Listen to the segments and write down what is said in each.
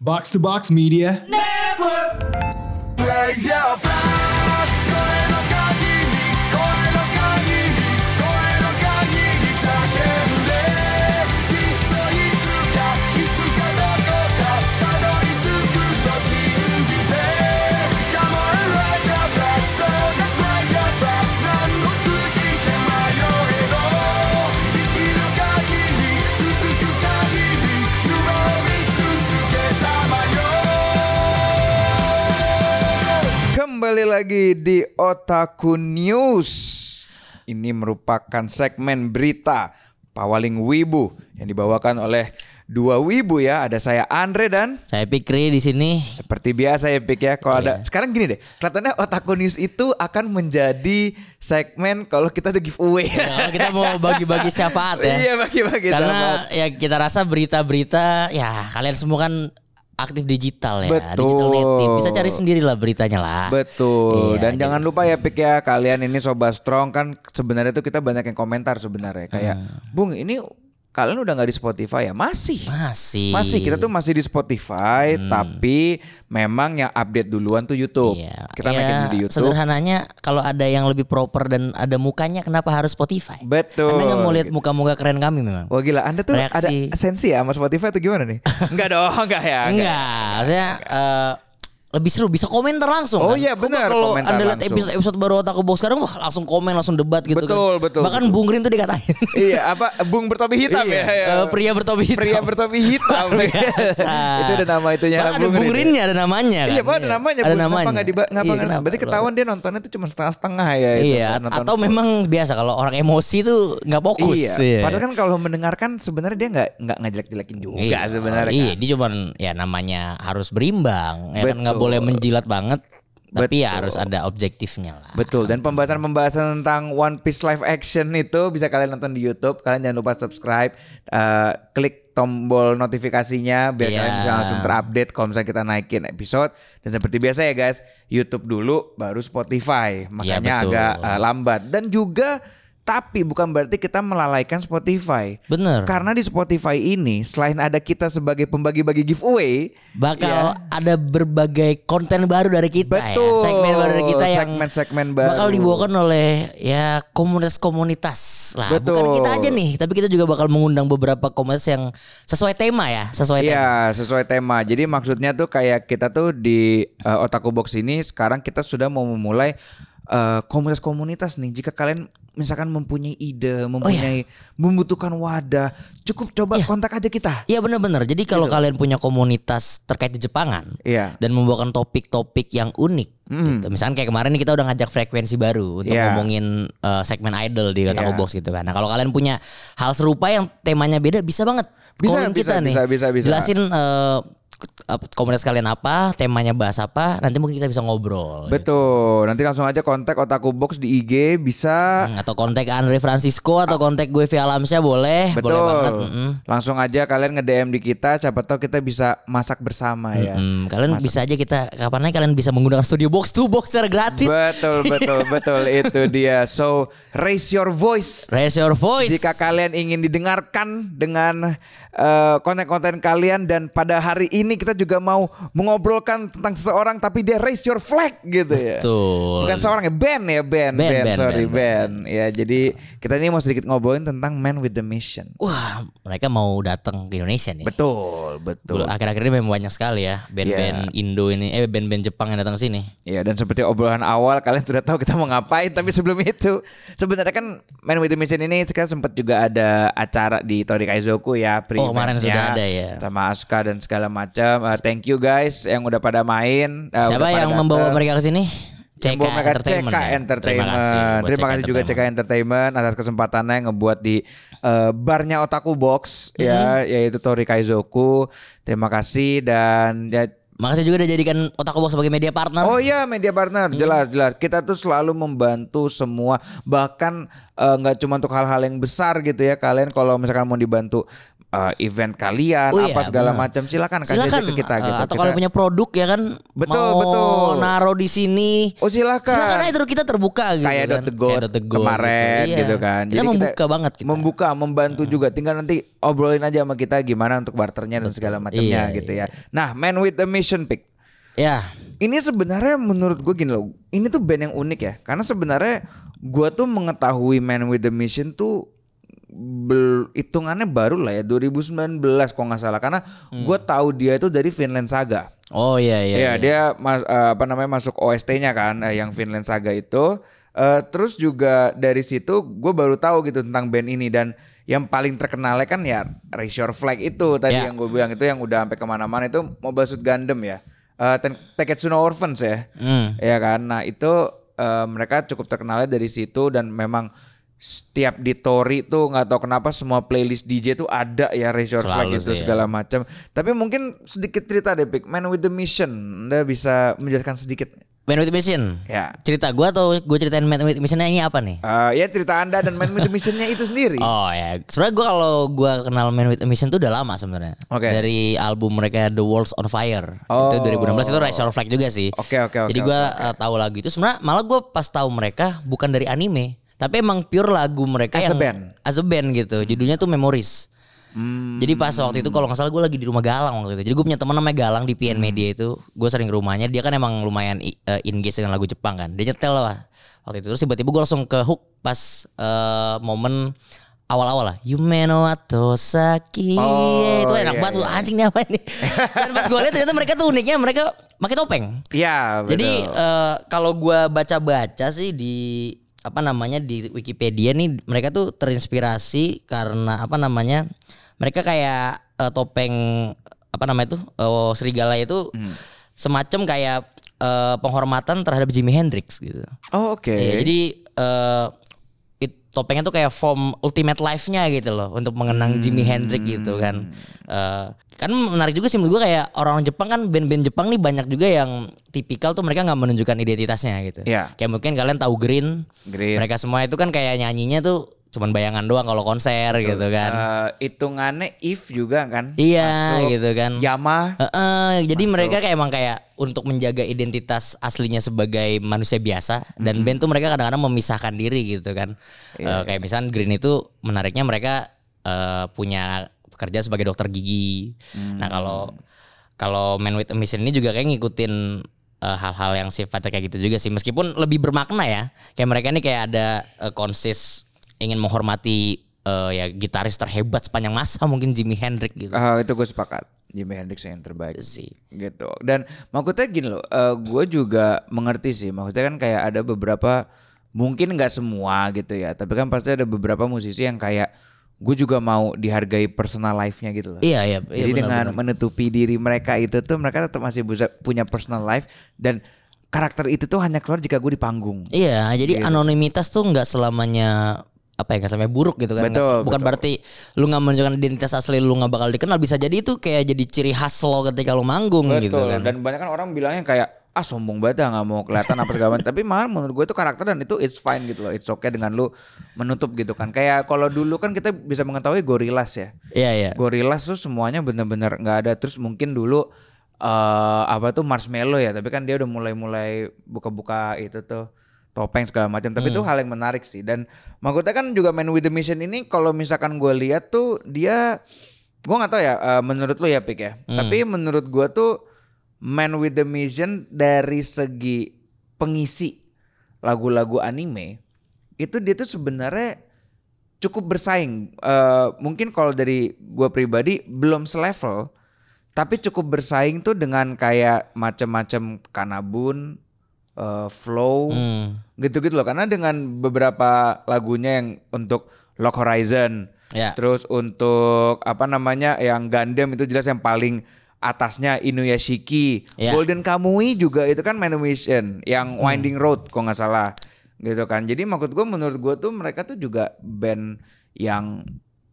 Box to Box Media. Kembali lagi di Otaku News. Ini merupakan segmen berita Pawaling Wibu yang dibawakan oleh dua wibu ya. Ada saya Andre dan Saya Pikri di sini. seperti biasa ya Pik ya kalau ada Iya. sekarang gini deh kelihatannya Otaku News itu akan menjadi segmen kalau kita ada giveaway. Kalau kita mau bagi-bagi syafaat Iya, ya. Iya bagi-bagi sama. Karena ya kita rasa berita-berita ya kalian semua kan aktif digital ya, digital Betul. native. Bisa cari sendirilah beritanya lah. Betul. Iya, Dan jadi- jangan lupa ya Pik ya, kalian ini sobat strong kan sebenarnya tuh kita banyak yang komentar sebenarnya kayak, Ah. "Bung, ini kalian udah nggak di Spotify ya?" Masih. Masih. Hmm. Masih kita tuh masih di Spotify, tapi memang yang update duluan tuh YouTube. Iya. Kita Ya, naikin di YouTube. Sederhananya kalau ada yang lebih proper dan ada mukanya kenapa harus Spotify? Betul. Anda nggak mau lihat muka-muka keren kami memang? Wah gila, Anda tuh Reaksi. ada sensi ya sama Spotify atau gimana nih? enggak dong, enggak ya. Enggak, saya eh, lebih seru bisa komentar langsung. Oh kan? iya, Kok benar, Kalau komentar anda lihat langsung. episode episode baru otak Box sekarang, wah langsung komen, langsung debat gitu Betul, kan. betul, Bahkan betul. Bung Rin tuh dikatain. iya, apa Bung bertopi hitam Iya, ya? ya. eh, pria bertopi hitam. Pria bertopi hitam. Luar biasa. itu ada nama itunya Bahkan ada Bung Rin ya, ada namanya kan. Iya, Pak, ada namanya. Ada Bu. namanya. Kenapa nggak diba- ngapa Iya, nggak- kenapa? Berarti ketahuan dia nontonnya itu cuma setengah-setengah ya. itu, Iya, kan, nonton atau full. memang biasa kalau orang emosi tuh nggak fokus. Iya. Padahal kan kalau mendengarkan sebenarnya dia nggak nggak ngejelek-jelekin juga Iya, sebenarnya. Iya, kan. dia cuman ya namanya harus berimbang, ya kan nggak Betul. boleh menjilat banget, tapi Betul. ya harus ada objektifnya lah. Betul. Dan pembahasan-pembahasan tentang One Piece live action itu bisa kalian nonton di YouTube. Kalian jangan lupa subscribe, eh, klik tombol notifikasinya biar Iya. kalian bisa langsung terupdate kalau misalnya kita naikin episode. Dan seperti biasa ya guys, YouTube dulu baru Spotify. Makanya Iya, betul. agak eh, lambat. Dan juga tapi bukan berarti kita melalaikan Spotify. Bener. Karena di Spotify ini selain ada kita sebagai pembagi-bagi giveaway, ya, bakal ada berbagai konten baru dari kita iya. Betul. ya. Segmen baru dari kita yang Segmen-segmen baru. bakal dibawakan oleh ya komunitas-komunitas lah. Bukan Betul. kita aja nih, tapi kita juga bakal mengundang beberapa komunitas yang sesuai tema ya, sesuai tema. Iya, sesuai tema. Jadi maksudnya tuh kayak kita tuh di eh, Otaku Box ini sekarang kita sudah mau memulai eh, komunitas-komunitas nih. Jika kalian misalkan mempunyai Oh, iya. ide, mempunyai membutuhkan wadah, cukup coba kontak aja kita. Iya benar-benar. Jadi kalau kalian punya komunitas terkait di Jepangan Gitu. Iya. Mm-hmm. dan membawakan topik-topik yang unik, gitu. misalnya kayak kemarin nih kita udah ngajak frekuensi baru untuk Iya. ngomongin eh, segmen idol di Otaku Iya. Box gitu kan. Nah kalau kalian punya hal serupa yang temanya beda, bisa banget Bisa, calling bisa, kita nih. bisa, bisa, bisa. Jelasin eh, apa- komunitas kalian apa, temanya bahas apa, nanti mungkin kita bisa ngobrol. gitu. Betul. Nanti langsung aja kontak Otaku Box di IG bisa. Hmm, Atau kontak Andre Francisco atau kontak gue Via Alamsyah boleh, boleh banget. Ah. Betul. mm-mm. Langsung aja kalian nge-DM di kita, siapa tahu kita bisa masak bersama ya. Hmm, kalian bisa aja kita kapan aja kalian bisa menggunakan studio box to box secara gratis. Betul, betul, betul itu dia. So, raise your voice. Raise your voice. Jika kalian ingin didengarkan dengan eh, konten-konten kalian dan pada hari ini kita juga mau mengobrolkan tentang seseorang tapi dia raise your flag gitu ya. Betul. Bukan seorang ya band ya band Band, band, band, sorry band, band. Ya jadi kita ini mau sedikit ngobrolin tentang Man with the Mission. Wah, mereka mau datang ke Indonesia nih. Betul, betul. Iya. Belum- Akhir-akhir ini memang banyak sekali ya band-band Indo ini, eh band-band Jepang yang datang ke sini. Ya dan seperti obrolan awal kalian sudah tahu kita mau ngapain tapi sebelum itu sebenarnya kan Man with the Mission ini sekarang sempat juga ada acara di Tori Kaizoku ya pre Oh, kemarin sudah ada ya. sama Asuka dan segala macam Eh, thank you guys yang udah pada main eh, udah Siapa pada yang membawa datang. mereka ke sini? Yang membawa mereka CK ya. Entertainment. Terima kasih, buat Terima kasih juga CK Entertainment. Entertainment atas kesempatannya yang ngebuat di eh, barnya Otaku Box ya Mm-hmm. yaitu Tori Kaizoku. Terima kasih dan ya, Makasih juga udah jadikan Otaku Box sebagai media partner. Hmm. Oh iya media partner jelas jelas kita tuh selalu membantu semua bahkan eh, nggak cuma untuk hal-hal yang besar gitu ya kalian kalau misalkan mau dibantu eh, event kalian Oh iya, apa segala benar. macam silakan kan kasih aja silakan ke kita eh, gitu. atau Kita- kalau punya produk ya kan Betul, mau betul. naro di sini Oh silakan. silakan aja terus kita terbuka gitu Kayak kan. dot the goat dot the goat iya. kemarin gitu kan. Jadi kita kita membuka banget kita Hmm. membuka membantu juga tinggal nanti obrolin aja sama kita gimana untuk barternya dan segala macamnya Iya, gitu ya nah man with a mission pick ya ini sebenarnya menurut gue gini loh ini tuh band yang unik ya karena sebenarnya gue tuh mengetahui man with a mission tuh bel- hitungannya baru lah ya 2019 kalau nggak salah karena gue tahu dia itu dari Finland Saga oh iya iya Iya, dia mas, eh, apa namanya masuk OST-nya kan eh, yang Finland Saga itu. Eh, terus juga dari situ gue baru tahu gitu tentang band ini dan yang paling terkenalnya kan ya Raise Your Flag itu tadi Ya. yang gue bilang itu yang udah sampai kemana-mana itu Mobile Suit Gundam ya. Eh, Ten- Teketsu no Orphans ya. Hmm. Ya kan. Nah, itu eh, mereka cukup terkenalnya dari situ dan memang setiap di Tori tuh nggak tahu kenapa semua playlist DJ tuh ada ya Raise Your Flag Selalu gitu sih, ya. segala macam. Tapi mungkin sedikit cerita deh Pik, Man with the Mission. Anda bisa menjelaskan sedikit? Man with Mission Ya. cerita gua atau gue ceritain Man with Missionnya ini apa nih Eh, ya cerita Anda dan Man with the Mission-nya itu sendiri. Oh ya, sebenarnya gue kalau gue kenal Man with a Mission tuh udah lama sebenarnya. Oke. Dari album mereka The World's on Fire Oh. itu 2016 itu Rise Your Flag juga sih. Oke, oke, oke, Jadi gue tahu lagu itu sebenarnya malah gue pas tahu mereka bukan dari anime tapi emang pure lagu As mereka a yang band. as a band gitu. Judulnya tuh Memories. Hmm, Jadi pas waktu itu kalau nggak salah gue lagi di rumah Galang waktu itu. Jadi gue punya teman namanya Galang di PN Hmm. Media itu. Gue sering ke rumahnya. Dia kan emang lumayan i- eh, engage dengan lagu Jepang kan. Dia nyetel lah waktu itu. Terus tiba-tiba gue langsung ke hook pas eh, momen awal-awal lah. Yume no Atosaki. Oh, itu enak iya, banget. tuh iya. Anjing nih apa ini? Dan pas gue lihat ternyata mereka tuh uniknya mereka pakai topeng. Ya, betul. Jadi eh, kalau gua baca-baca sih di apa namanya di Wikipedia nih mereka tuh terinspirasi karena apa namanya mereka kayak eh, topeng apa namanya tuh eh, serigala itu semacam kayak eh, penghormatan terhadap Jimi Hendrix gitu. Oh, oke. Iya, jadi eh, it- topengnya tuh kayak form ultimate life-nya gitu loh untuk mengenang Jimi Hendrix gitu kan. Eh, kan menarik juga sih menurut gue kayak orang Jepang kan band-band Jepang nih banyak juga yang tipikal tuh mereka nggak menunjukkan identitasnya gitu. Iya. Kayak mungkin kalian tahu Green, Green. mereka semua itu kan kayak nyanyinya tuh cuman bayangan doang kalau konser gitu kan. Eh, hitungannya if juga kan. iya Masuk. gitu kan. Yama. Heeh, jadi mereka kayak emang kayak untuk menjaga identitas aslinya sebagai manusia biasa dan band tuh mereka kadang-kadang memisahkan diri gitu kan. Eh, kayak misalnya Green itu menariknya mereka eh, punya pekerjaan sebagai dokter gigi. Nah, kalau kalau Man with a Mission ini juga kayak ngikutin eh, hal-hal yang sifatnya kayak gitu juga sih meskipun lebih bermakna ya. Kayak mereka ini kayak ada eh, konsis ingin menghormati eh, ya gitaris terhebat sepanjang masa mungkin Jimi Hendrix gitu. Eh, itu gue sepakat. Jimi Hendrix yang terbaik. sih. gitu dan maksudnya gini loh gue juga mengerti sih maksudnya kan kayak ada beberapa mungkin nggak semua gitu ya tapi kan pasti ada beberapa musisi yang kayak gue juga mau dihargai personal life-nya gitu loh Iya iya. iya, jadi benar, dengan benar. menutupi diri mereka itu tuh mereka tetap masih bisa punya personal life dan karakter itu tuh hanya keluar jika gue di panggung Iya, Gitu. jadi anonimitas tuh nggak selamanya apa ya nggak selamanya buruk gitu kan? Nggak Betul, se- bukan betul. berarti lu nggak menunjukkan identitas asli lu nggak bakal dikenal. Bisa jadi itu kayak jadi ciri khas lo ketika lu manggung gitu Betul. kan? Dan banyak kan orang bilangnya kayak ah sombong banget ah, nggak mau kelihatan apa segala macam. Tapi malah menurut gue itu karakter dan itu it's fine gitu loh. It's okay dengan lu menutup gitu kan. Kayak kalau dulu kan kita bisa mengetahui gorilas ya. Iya iya. Gorilas tuh semuanya bener-bener nggak ada. Terus mungkin dulu eh apa tuh marshmallow ya. Tapi kan dia udah mulai-mulai buka-buka itu tuh topeng segala macam. Tapi itu hal yang menarik sih. Dan maksudnya kan juga main with the mission ini kalau misalkan gue lihat tuh dia gue nggak tahu ya eh, menurut lu ya pik ya. Tapi menurut gue tuh Man with the Mission dari segi pengisi lagu-lagu anime itu dia tuh sebenarnya cukup bersaing. Eh, mungkin kalau dari gua pribadi belum selevel, tapi cukup bersaing tuh dengan kayak macam-macam kanabun, eh, flow, Hmm. gitu-gitu loh. Karena dengan beberapa lagunya yang untuk Lock Horizon, Ya. Terus untuk apa namanya yang Gundam itu jelas yang paling atasnya Inuyashiki, Iya. Golden Kamui juga itu kan Manumission, Hmm. yang Winding Road kalau nggak salah gitu kan. Jadi maksud gue menurut gue tuh mereka tuh juga band yang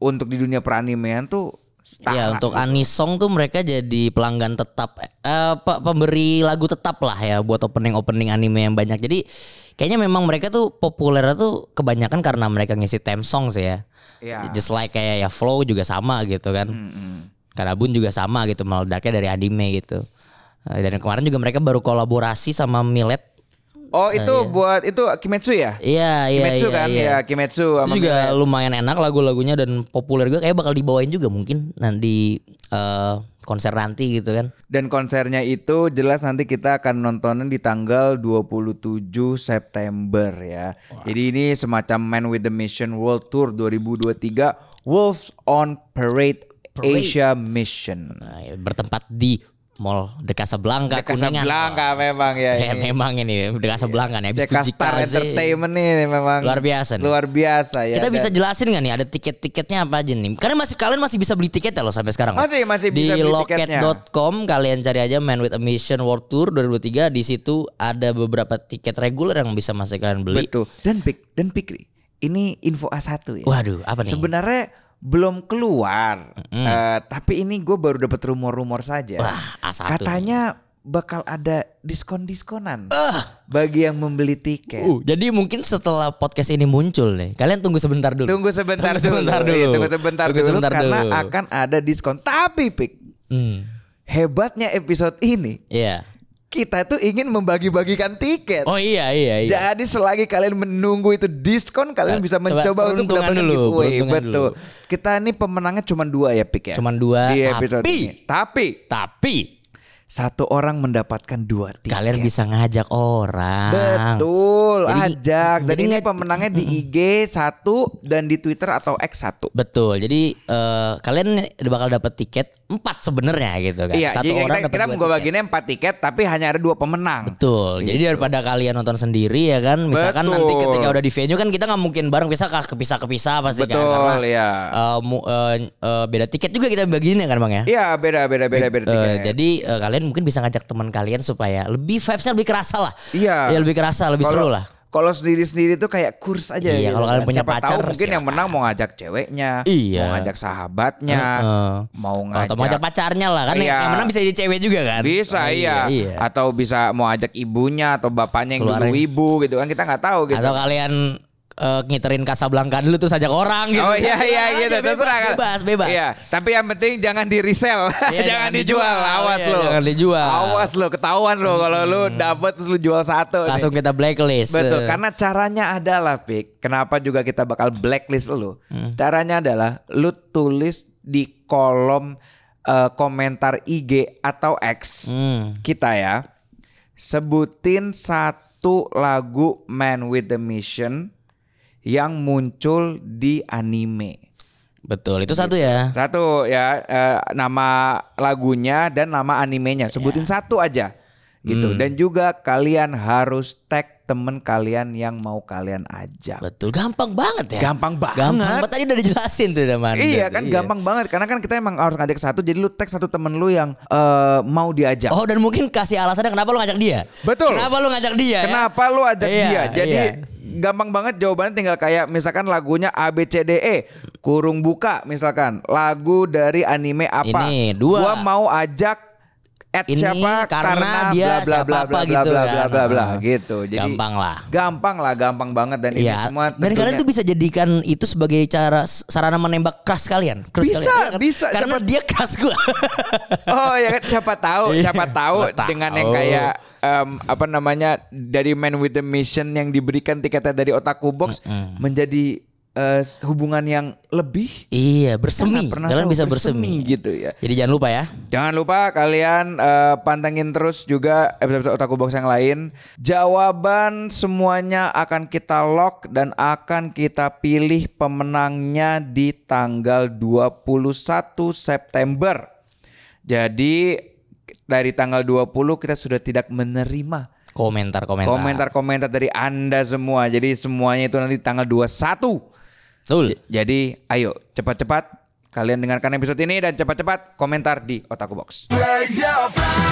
untuk di dunia peranimean tuh setara. Iya untuk Anisong tuh mereka jadi pelanggan tetap eh, pe- pemberi lagu tetap lah ya buat opening opening anime yang banyak. Jadi kayaknya memang mereka tuh populer tuh kebanyakan karena mereka ngisi theme song sih ya. Iya. Hmm, Just like kayak ya Flow juga sama gitu kan. Mm-mm. Karabun juga sama gitu meledaknya dari anime gitu. Eh, Dan kemarin juga mereka baru kolaborasi sama Millet. Oh itu buat itu Kimetsu ya? Iya, iya, Kimetsu iya, kan iya. ya Kimetsu sama Itu juga Mirai. lumayan enak lagu-lagunya dan populer juga kayak bakal dibawain juga mungkin nanti eh, konser nanti gitu kan. Dan konsernya itu jelas nanti kita akan nontonin di tanggal 27 September ya. Jadi ini semacam Man with the Mission World Tour 2023 Wolves on Parade, Asia Mission. Nah, bertempat di Mall De Casablanca, Kuningan. Casablanca memang ya Ya, ini. memang ini De Casablanca nih habis Ceka Fuji Star Kaze. Entertainment nih memang Luar biasa nih. Luar biasa ya. Kita Dan- bisa jelasin nggak nih ada tiket-tiketnya apa aja nih? Karena masih kalian masih bisa beli tiket ya loh sampai sekarang. loh. Masih, masih di bisa beli tiketnya. loket.com kalian cari aja Man with a Mission World Tour 2023 di situ ada beberapa tiket reguler yang bisa masih kalian beli. Betul. Dan Pik, dan Pikri. Ini info A1 ya. Waduh, apa nih? Sebenarnya belum keluar. Eh, tapi ini gue baru dapat rumor-rumor saja. Wah, A1. Katanya bakal ada diskon-diskonan bagi yang membeli tiket. Uh, jadi mungkin setelah podcast ini muncul nih, kalian tunggu sebentar dulu. Tunggu sebentar Tunggu sebentar dulu. Iya, dulu. Tunggu sebentar Tunggu dulu sebentar karena dulu. akan ada diskon. Tapi Pik, Hmm. hebatnya episode ini Iya. kita tuh ingin membagi-bagikan tiket. Oh iya iya iya. Jadi selagi kalian menunggu itu diskon kalian Coba bisa mencoba untuk peruntungan mendapatkan dulu, giveaway. peruntungan Betul. Kita ini pemenangnya cuma dua ya Pik ya. Cuman dua, Di episode tapi- ini. Tapi Tapi satu orang mendapatkan dua tiket. kalian bisa ngajak orang. Betul, Jadi- ajak. Dan jadi ini nggak- pemenangnya di IG satu dan di Twitter atau X satu. Betul. Jadi eh, kalian bakal dapat tiket empat sebenarnya gitu kan. Iya, Satu jadi orang kita, dapat kita dua gue tiket. baginya empat tiket, tapi hanya ada dua pemenang. Betul. Jadi daripada kalian nonton sendiri ya kan, misalkan nanti Gitu. Betul. ketika udah di venue kan kita nggak mungkin bareng bisa kah kepisah-kepisah pasti kan Betul, karena iya. eh, mu- eh, eh, beda tiket juga kita bagiin ya kan Bang ya. Iya, beda beda beda beda Eh, tiketnya. jadi eh, kalian mungkin bisa ngajak teman kalian supaya lebih vibesnya lebih kerasa lah. Iya. Ya lebih kerasa, lebih Kalau- seru lah. Kalau sendiri-sendiri tuh kayak kurs aja gitu Iya, kalau kalian kan. punya Siapa pacar, tahu mungkin yang silakan. menang mau ngajak ceweknya, Iya. Eh, mau ngajak sahabatnya, Heeh. mau ngajak Atau mau ngajak pacarnya lah kan yang- Iya. yang menang bisa jadi cewek juga kan. bisa Oh, iya. iya. atau bisa mau ajak ibunya atau bapaknya yang dulu Keluarnya. ibu gitu kan kita nggak tahu gitu. Atau kalian eh, ngiterin Casablanca dulu terus ajak orang gitu. Oh iya iya Silakan gitu aja, bebas, terserah kan. Bebas, bebas. Iya, tapi yang penting jangan di resell, Iya, jangan, jangan dijual, dijual. awas Iya, lo. jangan dijual. Hmm. Awas lo, ketahuan lo kalau lo dapet terus lo jual satu. nih. Langsung kita blacklist. Betul, kan? Eh, karena caranya adalah Pik. Kenapa juga kita bakal blacklist lu? Hmm. Caranya adalah lu tulis di kolom eh, komentar IG atau X hmm. kita ya. Sebutin satu lagu Man with the Mission yang muncul di anime. Betul, itu satu ya. Satu ya eh, nama lagunya dan nama animenya. Iya. Sebutin satu aja gitu. Hmm. Dan juga kalian harus tag temen kalian yang mau kalian ajak. Betul, gampang banget ya. Gampang banget. Gampang banget. Tadi udah dijelasin tuh sama Anda Iya tuh, kan gampang banget karena kan kita emang harus ngajak satu jadi lu tag satu temen lu yang eh, mau diajak. Oh dan mungkin kasih alasannya kenapa lu ngajak dia? Betul. Kenapa lu ngajak dia? ya? Kenapa lu ajak Iya, dia? Jadi iya. gampang banget jawabannya tinggal kayak misalkan lagunya A B C D E kurung buka misalkan lagu dari anime apa? Ini, dua. Gua mau ajak at Ini siapa karena dia siapa apa gitu bla kan. bla bla bla Heeh. gitu. Jadi Gampang lah. Gampang lah, gampang banget dan ini Iya. semua Dan kalian tuh bisa jadikan itu sebagai cara sarana menembak keras kalian. Crush Bisa, kalian. Iya kan? bisa. Karena dia keras gua. Oh ya kan siapa tahu, siapa tahu Iya. Nggak dengan tahu. yang kayak em, apa namanya dari Man with the Mission yang diberikan tiketnya dari Otaku Box menjadi eh, hubungan yang lebih iya, bersemi. Nggak pernah Kalian tahu, bisa bersemi. gitu ya. Jadi jangan lupa ya. Jangan lupa kalian eh, pantengin terus juga episode Otaku Box yang lain. Jawaban semuanya akan kita lock dan akan kita pilih pemenangnya di tanggal 21 September. Jadi dari tanggal 20 kita sudah tidak menerima Komentar-komentar. komentar-komentar dari Anda semua. Jadi semuanya itu nanti tanggal 21. Betul. Jadi ayo cepat-cepat kalian dengarkan episode ini dan cepat-cepat komentar di Otaku Box. Raise your flag.